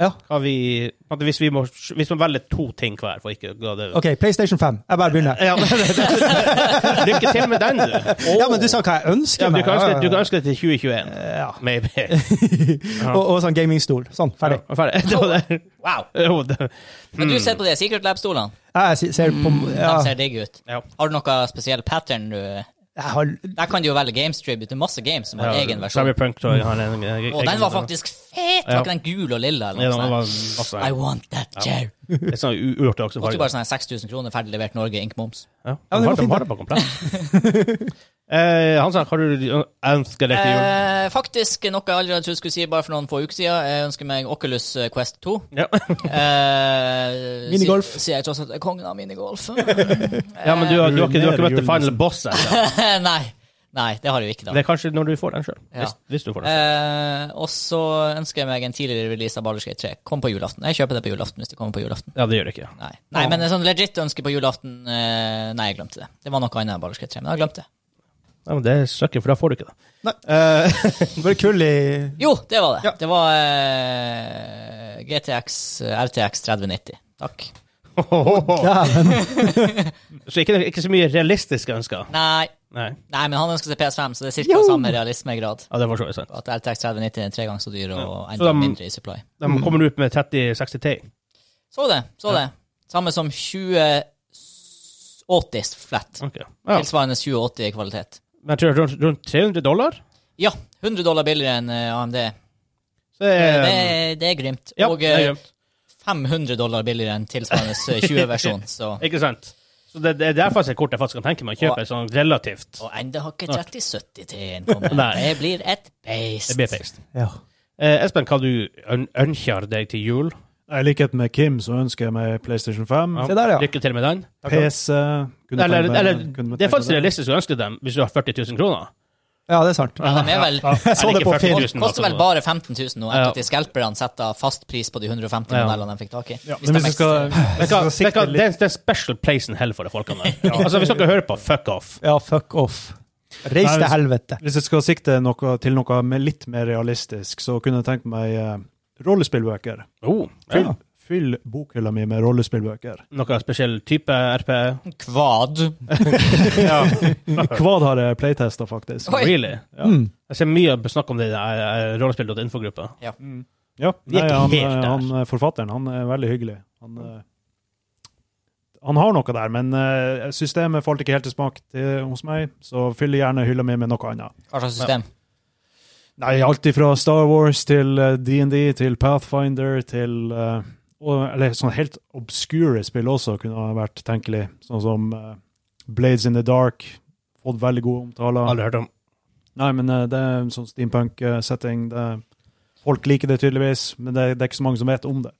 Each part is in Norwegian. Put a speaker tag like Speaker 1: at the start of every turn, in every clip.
Speaker 1: Ja.
Speaker 2: Hva vi, at hvis, vi må, hvis man velger to ting hver, for ikke å gå det
Speaker 1: OK, PlayStation 5. Jeg bare begynner.
Speaker 2: ja, det- det- det- Lykke til med den, du.
Speaker 1: Ja, men du sa hva jeg
Speaker 2: Ja,
Speaker 1: ønsker
Speaker 2: du,
Speaker 1: meg.
Speaker 2: kan ønske,
Speaker 1: Ja,
Speaker 2: du kan ønske det til 2021.
Speaker 1: Ja.
Speaker 2: Maybe.
Speaker 1: ja. Og, og sånn gamingstol. Sånn,
Speaker 2: Ja,
Speaker 1: ferdig.
Speaker 2: ferdig. Det var det.
Speaker 3: Wow.
Speaker 2: Jo, det-
Speaker 3: Men du ser på de Secret Lab-stolene.
Speaker 1: Jeg se- ser på ja.
Speaker 3: De ser digge ut.
Speaker 2: Mm. Ja.
Speaker 3: Har du noe spesiell pattern du
Speaker 1: Jeg har
Speaker 3: Der kan du jo velge Games Tribute. Masse games som har
Speaker 2: Ja,
Speaker 3: egen versjon.
Speaker 2: Cyberpunk tror jeg har en en- en-
Speaker 3: Og den var faktisk fet! Var ikke den gul og lilla?
Speaker 2: Ja,
Speaker 3: eller
Speaker 2: den var
Speaker 3: noe sånt?
Speaker 2: masse
Speaker 3: I want that chair.
Speaker 2: Litt sånn u- uortodokse farger.
Speaker 3: Koster bare sånn her 6000 kroner, ferdig levert Norge, ink-moms.
Speaker 2: Ja,
Speaker 1: Ja,
Speaker 2: han
Speaker 1: det
Speaker 2: har
Speaker 1: var
Speaker 2: det
Speaker 1: fint,
Speaker 2: har
Speaker 1: da.
Speaker 2: det bakom planen. Eh, Hansa, har du ønska deg til jul?
Speaker 3: Eh, faktisk noe jeg allerede trodde jeg skulle si bare for noen få uker siden. Jeg ønsker meg Oculus Quest 2.
Speaker 2: Ja.
Speaker 3: Eh,
Speaker 1: Minigolf.
Speaker 3: Sier, sier jeg tross alt er kongen av minigolf.
Speaker 2: ja, men du har, du har,
Speaker 3: eh,
Speaker 2: ikke, du har ikke møtt
Speaker 1: Rullere
Speaker 2: the final boss ennå.
Speaker 3: nei. Nei, det har jeg jo ikke, da.
Speaker 2: Det er kanskje når du får den sjøl.
Speaker 3: Ja.
Speaker 2: Hvis, hvis du får den.
Speaker 3: Eh, og så ønsker jeg meg en tidligere release av Baldur's Gate 3. Kom på julaften. Jeg kjøper det på julaften hvis det kommer på julaften.
Speaker 2: Ja, det gjør det ikke.
Speaker 3: Nei, nei men en sånn legit ønske på julaften eh, Nei, jeg glemte det. Det var noe annet enn Baldur's Gate 3, men jeg har glemt det.
Speaker 2: Ja, men det søkker, for da får du ikke det.
Speaker 1: Eh, Bare kull i
Speaker 3: Jo, det var det.
Speaker 1: Ja.
Speaker 3: Det var eh, GTX eh, RTX 3090. Takk.
Speaker 1: Ja, men
Speaker 2: Så ikke, ikke så mye realistiske ønsker.
Speaker 3: Nei,
Speaker 2: Nei.
Speaker 3: nei men han ønsker seg PS5, så det er ca.
Speaker 1: Jo.
Speaker 3: samme realismegrad.
Speaker 2: Ja, det var så vidt sant.
Speaker 3: At RTX 3090 er tre ganger så dyr og
Speaker 2: Ja. Så de-
Speaker 3: enda mindre i supply.
Speaker 2: De kommer ut med 3060 T.
Speaker 3: Så det. så det. Samme som 2080 flat.
Speaker 2: Ok. Ja.
Speaker 3: Tilsvarende 2080 i kvalitet.
Speaker 2: Men jeg tror det er rundt, rundt 300 dollar.
Speaker 3: Ja, 100 dollar billigere enn eh, AMD.
Speaker 2: Så det
Speaker 3: Eh, Det,
Speaker 2: er,
Speaker 3: er- det er grymt.
Speaker 2: ja,
Speaker 3: og
Speaker 2: det er
Speaker 3: eh,
Speaker 2: glemt.
Speaker 3: 500 dollar billigere enn tilsvarende 20-versjon. Så
Speaker 2: Ikke sant? Så det, det er derfor jeg kort jeg faktisk kan tenke meg å kjøpe sånn relativt.
Speaker 3: Og enda har ikke 3070 til en kommet.
Speaker 2: Nei.
Speaker 3: Det blir et beist.
Speaker 2: Det blir feist.
Speaker 1: ja.
Speaker 2: Eh, Espen, hva du øn ønsker deg til jul?
Speaker 4: I likhet med Kim så ønsker jeg meg PlayStation 5.
Speaker 2: Ja.
Speaker 1: Se der, ja.
Speaker 2: Lykke til med den.
Speaker 4: PC kunne
Speaker 2: Eller,
Speaker 4: tenkt meg-
Speaker 2: eller,
Speaker 4: kunne tenkt
Speaker 2: det er faktisk
Speaker 4: meg
Speaker 2: realistisk å ønske dem hvis du har 40 000 kroner.
Speaker 1: ja, det er sant.
Speaker 3: Ja, de er vel,
Speaker 1: Jeg så
Speaker 2: Eller
Speaker 1: det
Speaker 2: ikke altså.
Speaker 1: på
Speaker 2: 40 000,
Speaker 1: film.
Speaker 2: da,
Speaker 3: koster vel
Speaker 2: så-
Speaker 3: bare 15 000 nå, etter
Speaker 2: Ja.
Speaker 3: at de skalperne setter fast pris på de 150
Speaker 2: Ja.
Speaker 3: modellene de fikk tak i.
Speaker 4: Men hvis jeg skal,
Speaker 2: Vet du hva-
Speaker 4: hvis jeg
Speaker 2: vet du
Speaker 4: skal
Speaker 2: hva,
Speaker 4: sikte
Speaker 2: Det
Speaker 4: litt
Speaker 2: er det er special place in hell for de folkene der. Altså, hvis dere hører på, fuck off.
Speaker 1: Ja, fuck off. Reis
Speaker 4: Nei,
Speaker 1: til
Speaker 4: hvis-
Speaker 1: helvete.
Speaker 4: Hvis jeg skal sikte noe, til noe med litt mer realistisk, så kunne jeg tenkt meg eh, rollespillbøker.
Speaker 2: Oh,
Speaker 4: Fyll,
Speaker 2: ja.
Speaker 4: fyll bokhylla mi med rollespillbøker.
Speaker 2: Noen spesiell type RP?
Speaker 3: Kvad.
Speaker 2: Ja.
Speaker 4: Kvad har jeg playtesta, faktisk.
Speaker 3: Oi.
Speaker 2: Really?
Speaker 4: Ja.
Speaker 1: Mm.
Speaker 2: Jeg ser mye snakk om det i rollespill.info-gruppa.
Speaker 4: Mm. Ja,
Speaker 2: Vi er
Speaker 4: nei,
Speaker 2: ikke
Speaker 4: han,
Speaker 2: helt
Speaker 4: eh,
Speaker 2: der.
Speaker 4: han eh, forfatteren han er veldig hyggelig. Han, eh, han har noe der, men eh, systemet falt ikke helt til smak til, hos meg, så fyll gjerne hylla mi med noe annet.
Speaker 3: Hva slags system?
Speaker 4: Nei, alt ifra Star Wars til eh, D&D til Pathfinder til eh, og, Eller sånn helt obskure spill også kunne ha vært tenkelig. Sånn som eh, Blades in the Dark. Fått veldig gode omtaler.
Speaker 2: Aldri hørt om.
Speaker 4: Nei, men eh, det er en sånn steampunk-setting. det- Folk liker det tydeligvis, men det, det er ikke så mange som vet om det.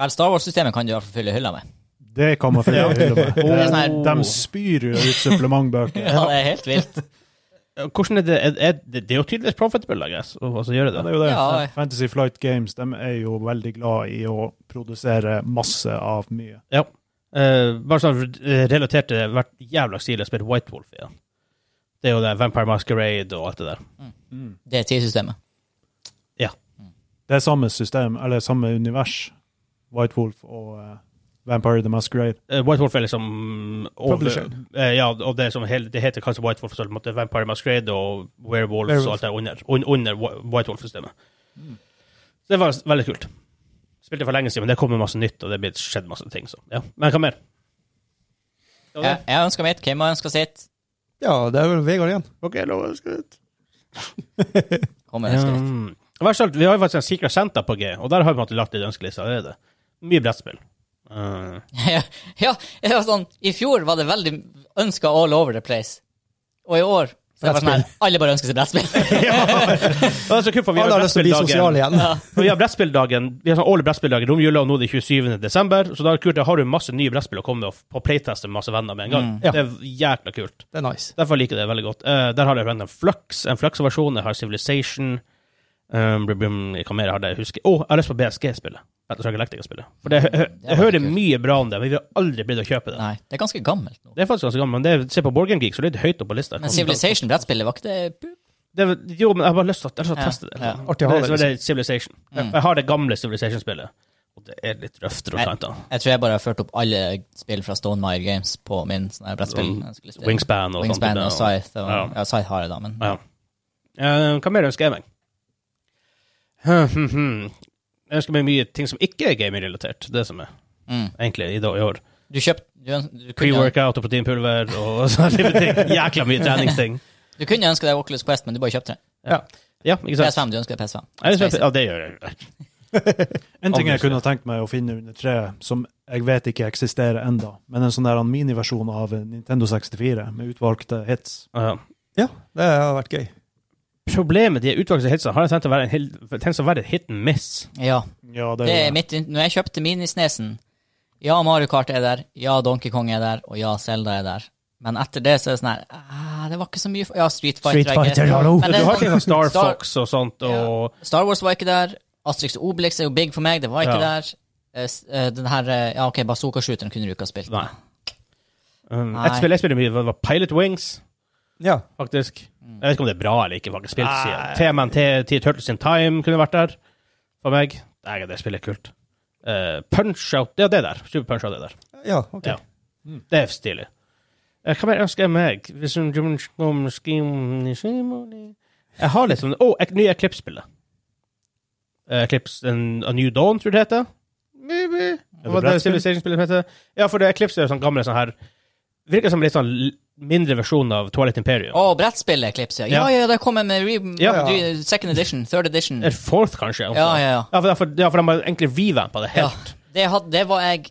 Speaker 3: Vel, Star Wars-systemet kan du i hvert fall fylle hylla med.
Speaker 4: Det kan man følge øye med.
Speaker 3: Det er sånn her,
Speaker 4: De spyr jo ut supplementbøker.
Speaker 3: ja, det er helt vilt.
Speaker 2: Hvordan er det, er, er, det det er jo tydeligvis profitable, I guess, å altså, gjøre
Speaker 4: Ja,
Speaker 2: det.
Speaker 4: det er jo det.
Speaker 3: Ja, ja.
Speaker 4: Fantasy Flight Games de er jo veldig glad i å produsere masse av mye.
Speaker 2: Ja. Eh, bare sånn eh, relatert til hvert jævla stil jeg spiller White Wolf igjen. Det er jo det Vampire Masquerade og alt det der.
Speaker 3: Det er systemet
Speaker 4: Det er samme system, eller samme univers. White Wolf og eh, Vampire the Masquerade.
Speaker 2: Eh, White Wolf er liksom og-
Speaker 4: Publisher.
Speaker 2: eh, ja, og det, som hel, det heter kanskje White Wolf, så det måtte Vampire Masquerade og Werewolves
Speaker 1: Werewolf.
Speaker 2: og alt det under, un, under Whi- White Wolf-systemet. Så det var s- veldig kult. Spilte for lenge siden, men det kommer masse nytt, og det blir skjedd masse ting. Så. Ja. Men hva mer? Det var
Speaker 3: Jeg,
Speaker 2: det.
Speaker 3: jeg ønsker mitt, Kim har ønska sitt.
Speaker 1: Ja, det er vel Vegard igjen.
Speaker 2: Ok, lov å ønske ut.
Speaker 3: Kommer ønsker mitt.
Speaker 2: Mm. Verst av alt, vi har jo faktisk en Secret Santa på G, og der har vi måttet lagt litt ønskeliste allerede. Mye brettspill. Eh,
Speaker 3: ja, ja, det var sånn, I fjor var det veldig ønska all over the place. Og i år Så det var sånn her, Alle bare ønsker seg brettspill.
Speaker 2: Det er så kult, for vi har
Speaker 1: Alle har lyst til å bli
Speaker 2: brettspilldagen-
Speaker 1: sosiale igjen.
Speaker 3: Ja.
Speaker 2: for Vi har brettspilldagen Vi har sånn årlig brettspilldag i romjula, og nå er det 27. desember. Så da er det kult, da har du masse nye brettspill å komme med og på playteste med masse venner med en gang.
Speaker 1: Mm. Ja.
Speaker 2: Det er jækla kult.
Speaker 1: Det er nice.
Speaker 2: Derfor liker jeg det veldig godt. Eh, der har jeg random Flux, en Flux-versjon. Jeg har Civilization. Um, brum, brum, hva mer har jeg jeg husker? Å, jeg har lyst på BSG-spillet. Battlestar Galactica-spillet. For det, jeg,
Speaker 3: Mm. Det er
Speaker 2: jeg hører
Speaker 3: veldig kult.
Speaker 2: mye bra om det, men vi har aldri blitt å kjøpe det.
Speaker 3: Nei, det er ganske gammelt nå.
Speaker 2: Det er faktisk ganske gammelt, men det er, se på Borgen Geek, så det er litt høyt opp på lista.
Speaker 3: Men Civilization brettspillet var ikke det bu-
Speaker 2: Det, er- jo, men jeg har bare lyst til å, jeg har lyst til å
Speaker 3: Ja,
Speaker 2: teste det.
Speaker 3: ja.
Speaker 1: Artig å ha det, liksom.
Speaker 2: Så er Civilization.
Speaker 3: Mm.
Speaker 2: Jeg har det gamle Civilization-spillet, og det er litt røft rundt
Speaker 3: Nei.
Speaker 2: kantene.
Speaker 3: Jeg tror jeg bare har ført opp alle spill fra Stonemire Games på min sånn her brettspill.
Speaker 2: Mm.
Speaker 3: ønskeliste.
Speaker 2: Wingspan og sånt.
Speaker 3: Wingspan og Scythe. Det var-
Speaker 2: Ja.
Speaker 3: Ja, Scythe har jeg da, men
Speaker 2: Ja. Eh, hva mer ønsker jeg meg? Hmm, hmm, hmm. Jeg ønsker meg mye ting som ikke er gaming-relatert. Det som er
Speaker 3: mm.
Speaker 2: egentlig i, dag, i år.
Speaker 3: Du kjøpte du, øns- du, kunne-
Speaker 2: Pre-workout og proteinpulver og sånne type ting. Jækla mye treningsting.
Speaker 3: du kunne ønske deg Oculus Quest, men du bare kjøpte det.
Speaker 2: Ja, ikke sant?
Speaker 3: PS5, du ønsker deg PS5.
Speaker 2: Jeg ønsker meg- Ja, det gjør jeg.
Speaker 4: En ting
Speaker 2: Obviously.
Speaker 4: jeg kunne tenkt meg å finne under treet, som jeg vet ikke eksisterer enda, men en sånn der en miniversjon av en Nintendo 64 med utvalgte hits.
Speaker 2: Ja.
Speaker 1: Ja, det har vært gøy.
Speaker 2: Problemet de utvalgte hitsene har jeg tenkt å være en, hel- tenkt å være et hit and miss.
Speaker 3: Ja,
Speaker 4: Ja, det
Speaker 3: det
Speaker 4: er
Speaker 3: er mitt, når jeg kjøpte Minisnesen, ja, Mario Kart er der, ja, Donkey Kong er der, og ja, Zelda er der. Men etter det så er det sånn her ah, Det var ikke så mye f- Ja, Street Fighter.
Speaker 1: Street Fighter,
Speaker 3: I guess.
Speaker 1: hallo.
Speaker 2: Men
Speaker 3: det
Speaker 2: du
Speaker 3: er
Speaker 2: har
Speaker 3: sånn-
Speaker 2: ting som Star
Speaker 3: Star-
Speaker 2: Fox og sånt, og
Speaker 3: Star Wars var ikke der. Astrix og Obelix er jo big for meg, det var ikke
Speaker 2: Ja.
Speaker 3: der. Eh, s- eh, Den her eh, Ja, OK, bazooka-shooteren kunne du ikke ha spilt.
Speaker 2: Nei. um,
Speaker 3: Nei.
Speaker 2: Et spill jeg spiller mye, var Pilot Wings,
Speaker 1: Ja.
Speaker 2: faktisk. Jeg vet ikke om det er bra eller ikke, faktisk. Spilt siden TMNT, T Turtles in Time kunne vært der for meg. Nei, det spillet er kult. Eh, Punch-Out, ja, det er der. Super Punch-Out er der.
Speaker 1: Ja, ok.
Speaker 2: Ja. Det er stilig. Eh, Hva mer ønsker jeg meg? Hvis en drømmer om skim- skimoni- Jeg har litt sånn Å, oh, nye Eclipse-spillet. Eh, Eclipse en, A New Dawn, tror jeg det heter. Maybe.
Speaker 4: det
Speaker 2: Hva det
Speaker 4: brettspill?
Speaker 2: Civilization-spillet heter. Ja, for det Eclipse er jo sånn gamle sånn her Virker som en litt sånn l- mindre versjon av Twilight Imperium.
Speaker 3: Å, brettspillet Eclipse, ja. Ja, ja, det kommer med re
Speaker 2: Ja.
Speaker 3: re- second edition, third edition.
Speaker 2: Eller fourth, kanskje. også.
Speaker 3: Ja, ja, ja.
Speaker 2: Ja, for, for, ja, for de har egentlig revampa det
Speaker 3: ja.
Speaker 2: helt.
Speaker 3: Det, had, det var jeg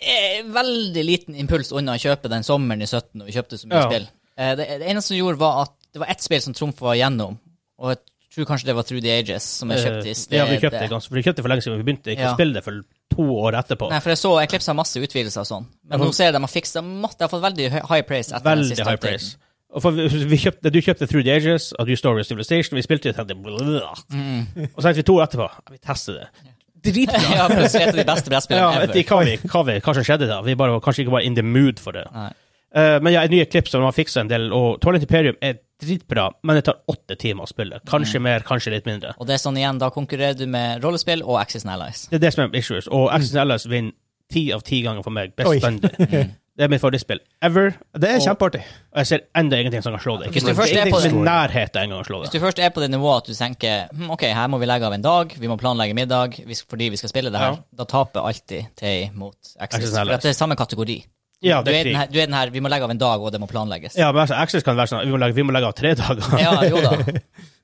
Speaker 3: eh, veldig liten impuls unna å kjøpe den sommeren i 17, og vi kjøpte så mye
Speaker 2: Ja.
Speaker 3: spill. Eh, det, det eneste som gjorde, var at det var ett spill som trumfa gjennom, og jeg tror kanskje det var Through the Ages, som jeg kjøpte i
Speaker 2: Eh, ja, vi kjøpte det
Speaker 3: stedet.
Speaker 2: ganske, for vi kjøpte det for lenge siden, men vi begynte ikke
Speaker 3: Ja.
Speaker 2: å spille det for to år etterpå.
Speaker 3: Nei, for jeg så Eclipse har masse utvidelser og sånn, men
Speaker 2: Ja,
Speaker 3: nå ser jeg de har fiksa masse. De har fått veldig hø- high praise etter den
Speaker 2: Veldig
Speaker 3: siste
Speaker 2: high
Speaker 3: updaten.
Speaker 2: praise. Og for vi, vi kjøpte, du kjøpte Through the Ages, og du Story of Civilization. Vi spilte det, og tenkte blah. Og så tenkte vi to år etterpå ja, vi tester det. Mm. Dritbra!
Speaker 3: ja, plutselig et av de
Speaker 2: ja,
Speaker 3: beste brettspillene
Speaker 2: vet
Speaker 3: ever.
Speaker 2: ikke hva, vi, hva, vi, hva som skjedde da. Vi bare, var kanskje ikke var in the mood for det.
Speaker 3: Nei.
Speaker 2: Eh, men ja, et nye klipp som har fiksa en del, og Twilight Imperium er dritbra, men det tar åtte timer å spille. Kanskje mer, kanskje litt mindre.
Speaker 3: Og det er sånn igjen, da konkurrerer du med rollespill og Axis and Allies.
Speaker 2: Det er det som er issues. Og Axis Allies vinner ti av ti ganger for meg.
Speaker 1: Oi.
Speaker 2: Bestandig. Det er mitt favorittspill ever,
Speaker 1: Det er
Speaker 2: Og-
Speaker 1: kjempeartig.
Speaker 2: og jeg ser enda ingenting som kan slå det.
Speaker 3: Hvis
Speaker 2: Ikke,
Speaker 3: du først er
Speaker 2: ingenting
Speaker 3: på
Speaker 2: som
Speaker 3: det-
Speaker 2: er i nærheten av engang å slå
Speaker 3: Hvis
Speaker 2: det.
Speaker 3: du først er på det nivået at du tenker hm, ok, her må vi legge av en dag, vi må planlegge middag vi sk- fordi vi skal spille det her,
Speaker 2: Ja.
Speaker 3: da taper alltid TI mot Axis.
Speaker 2: Axis and
Speaker 3: For
Speaker 2: Allies.
Speaker 3: at det er samme kategori.
Speaker 2: Ja,
Speaker 3: Du
Speaker 2: det
Speaker 3: er,
Speaker 2: er
Speaker 3: den
Speaker 2: krig.
Speaker 3: her, du er den her vi må legge av en dag, og det må planlegges.
Speaker 2: Ja, men altså, Access kan være sånn vi må legge, vi må legge av tre dager.
Speaker 3: Ja, jo da.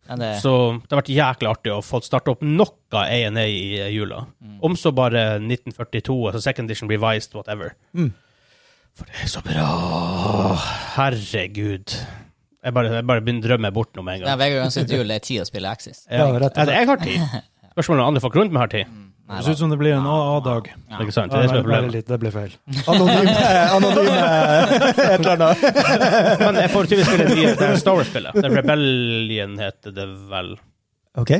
Speaker 3: Men eh, det,
Speaker 2: Så det har vært jæklig artig å få starte opp noe ANA i eh, jula.
Speaker 3: Mm.
Speaker 2: Om så bare 1942, altså second edition revised, whatever.
Speaker 1: Mm.
Speaker 2: For det er så bra! Herregud. Jeg bare, jeg bare begynner å drømme bort noe med en
Speaker 3: det er
Speaker 2: gang.
Speaker 3: Vegard Ønsket Jul er tid å spille Axis.
Speaker 2: Ja,
Speaker 1: Ja, rett og slett.
Speaker 2: altså, jeg har tid. Spørsmålet om andre folk rundt meg har tid.
Speaker 3: Nei,
Speaker 4: Det ser ut som det blir en AA-dag.
Speaker 3: Ja.
Speaker 2: Ikke sant? Det er det som er problemet.
Speaker 4: det blir feil.
Speaker 1: Anonyme, anonyme et eller annet.
Speaker 2: Men jeg får tydeligvis spille det nye det er Star Wars-spillet. Det er Rebellion heter det vel.
Speaker 1: Ok.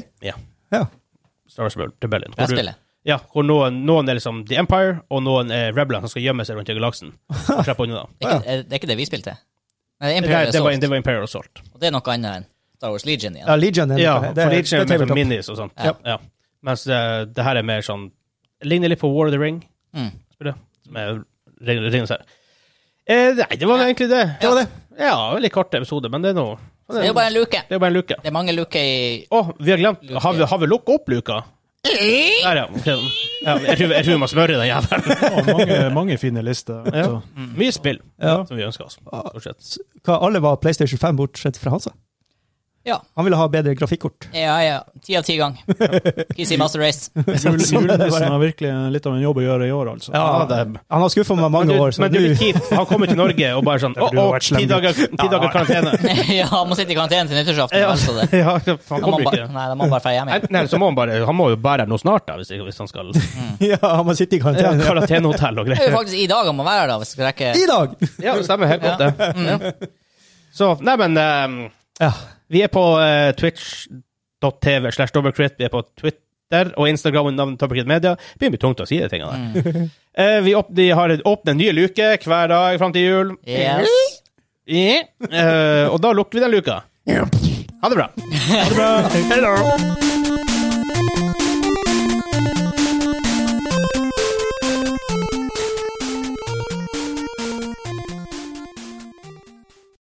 Speaker 2: Star Wars Rebellion. Hvor du-
Speaker 3: Brettspillet.
Speaker 2: Ja, hvor noen, noen er liksom The Empire, og noen er Rebellion som skal gjemme seg rundt i galaksen. Og slippe unna da.
Speaker 3: Det er
Speaker 1: Ja.
Speaker 3: ikke- er- det er ikke det vi spilte. Nei, det er
Speaker 2: Ah. Det,
Speaker 3: Imperial
Speaker 2: det, var,
Speaker 3: Assault,
Speaker 2: det var Imperial Assault.
Speaker 3: og det er noe annet enn Star Wars Legion igjen.
Speaker 1: Ja, Legion er
Speaker 2: Ja,
Speaker 1: noe-
Speaker 2: for det er mer sånn
Speaker 1: tabletop.
Speaker 2: minis og sånt.
Speaker 3: Ja.
Speaker 2: Ja. Mens det, det her er mer sånn Ligner litt på War of the Ring.
Speaker 3: Mm.
Speaker 2: Spiller det? Som er ring- ringens her. Eh, nei, det var egentlig det.
Speaker 1: Det var det.
Speaker 2: Ja, veldig kort episode, men det er noe
Speaker 3: Det er jo bare en luke.
Speaker 2: Det er bare en luke.
Speaker 3: Det er mange luker i
Speaker 2: Å, vi har glemt Har vi, har vi lukket opp luka? Der, ja. Ok. ja jeg, tror, jeg tror vi må smøre den jævelen.
Speaker 4: Og mange, mange fine lister. altså.
Speaker 2: Ja.
Speaker 4: Så.
Speaker 3: Mm.
Speaker 2: Mye spill
Speaker 1: Ja.
Speaker 2: som vi ønsker oss. stort sett.
Speaker 1: Hva, alle var PlayStation 5 bortsett fra Hansa?
Speaker 3: Ja.
Speaker 1: Han ville ha bedre grafikkort.
Speaker 3: Ja, ja. Ti av ti gang. Easy Master Race.
Speaker 4: Jule,
Speaker 1: Sånn er det
Speaker 4: julenissen
Speaker 1: bare.
Speaker 4: har virkelig litt av en jobb å gjøre i år, altså.
Speaker 1: Ja,
Speaker 4: det,
Speaker 1: Han har skuffa meg
Speaker 2: Men
Speaker 1: mange
Speaker 2: du-
Speaker 1: år, så
Speaker 2: men det er
Speaker 1: nå sånn
Speaker 2: litt kjipt. Han kommer til Norge og bare sånn Å,
Speaker 4: Der burde du
Speaker 2: å,
Speaker 4: vært slem
Speaker 2: ti
Speaker 4: gutt.
Speaker 2: dager ti dager karantene.
Speaker 3: ja, han må sitte i karantene til nyttårsaften.
Speaker 2: Ja.
Speaker 3: vel så det.
Speaker 2: Ja, han
Speaker 3: Da må
Speaker 2: kommer
Speaker 3: han
Speaker 2: ikke.
Speaker 3: bare- Nei, da må han bare dra hjem igjen.
Speaker 2: Enten eller så må han bare Han må jo bære her noe snart, da, hvis, ikke- hvis han skal
Speaker 1: ja, han må sitte i
Speaker 2: ja,
Speaker 1: karantene.
Speaker 2: Karantenehotell og
Speaker 3: Det
Speaker 2: greier.
Speaker 3: er jo faktisk i dag han må være her, da, hvis vi skal rekke
Speaker 1: I dag!
Speaker 2: Ja, det stemmer helt godt, det.
Speaker 3: Mm.
Speaker 2: Ja. Så Nei, men ehm,
Speaker 1: Ja.
Speaker 2: Vi er på eh, twitch.tv slash dobbeltkritt. Vi er på Twitter og Instagram under navnet Dobbeltkritt Media. Det begynner å bli tungt å si de tingene der. Eh, vi åp de har åpnet en ny luke hver dag fram til jul.
Speaker 3: Yes.
Speaker 2: Ja. Eh, og da lukker vi den luka. Ha det bra.
Speaker 4: det er bra.
Speaker 2: Hello.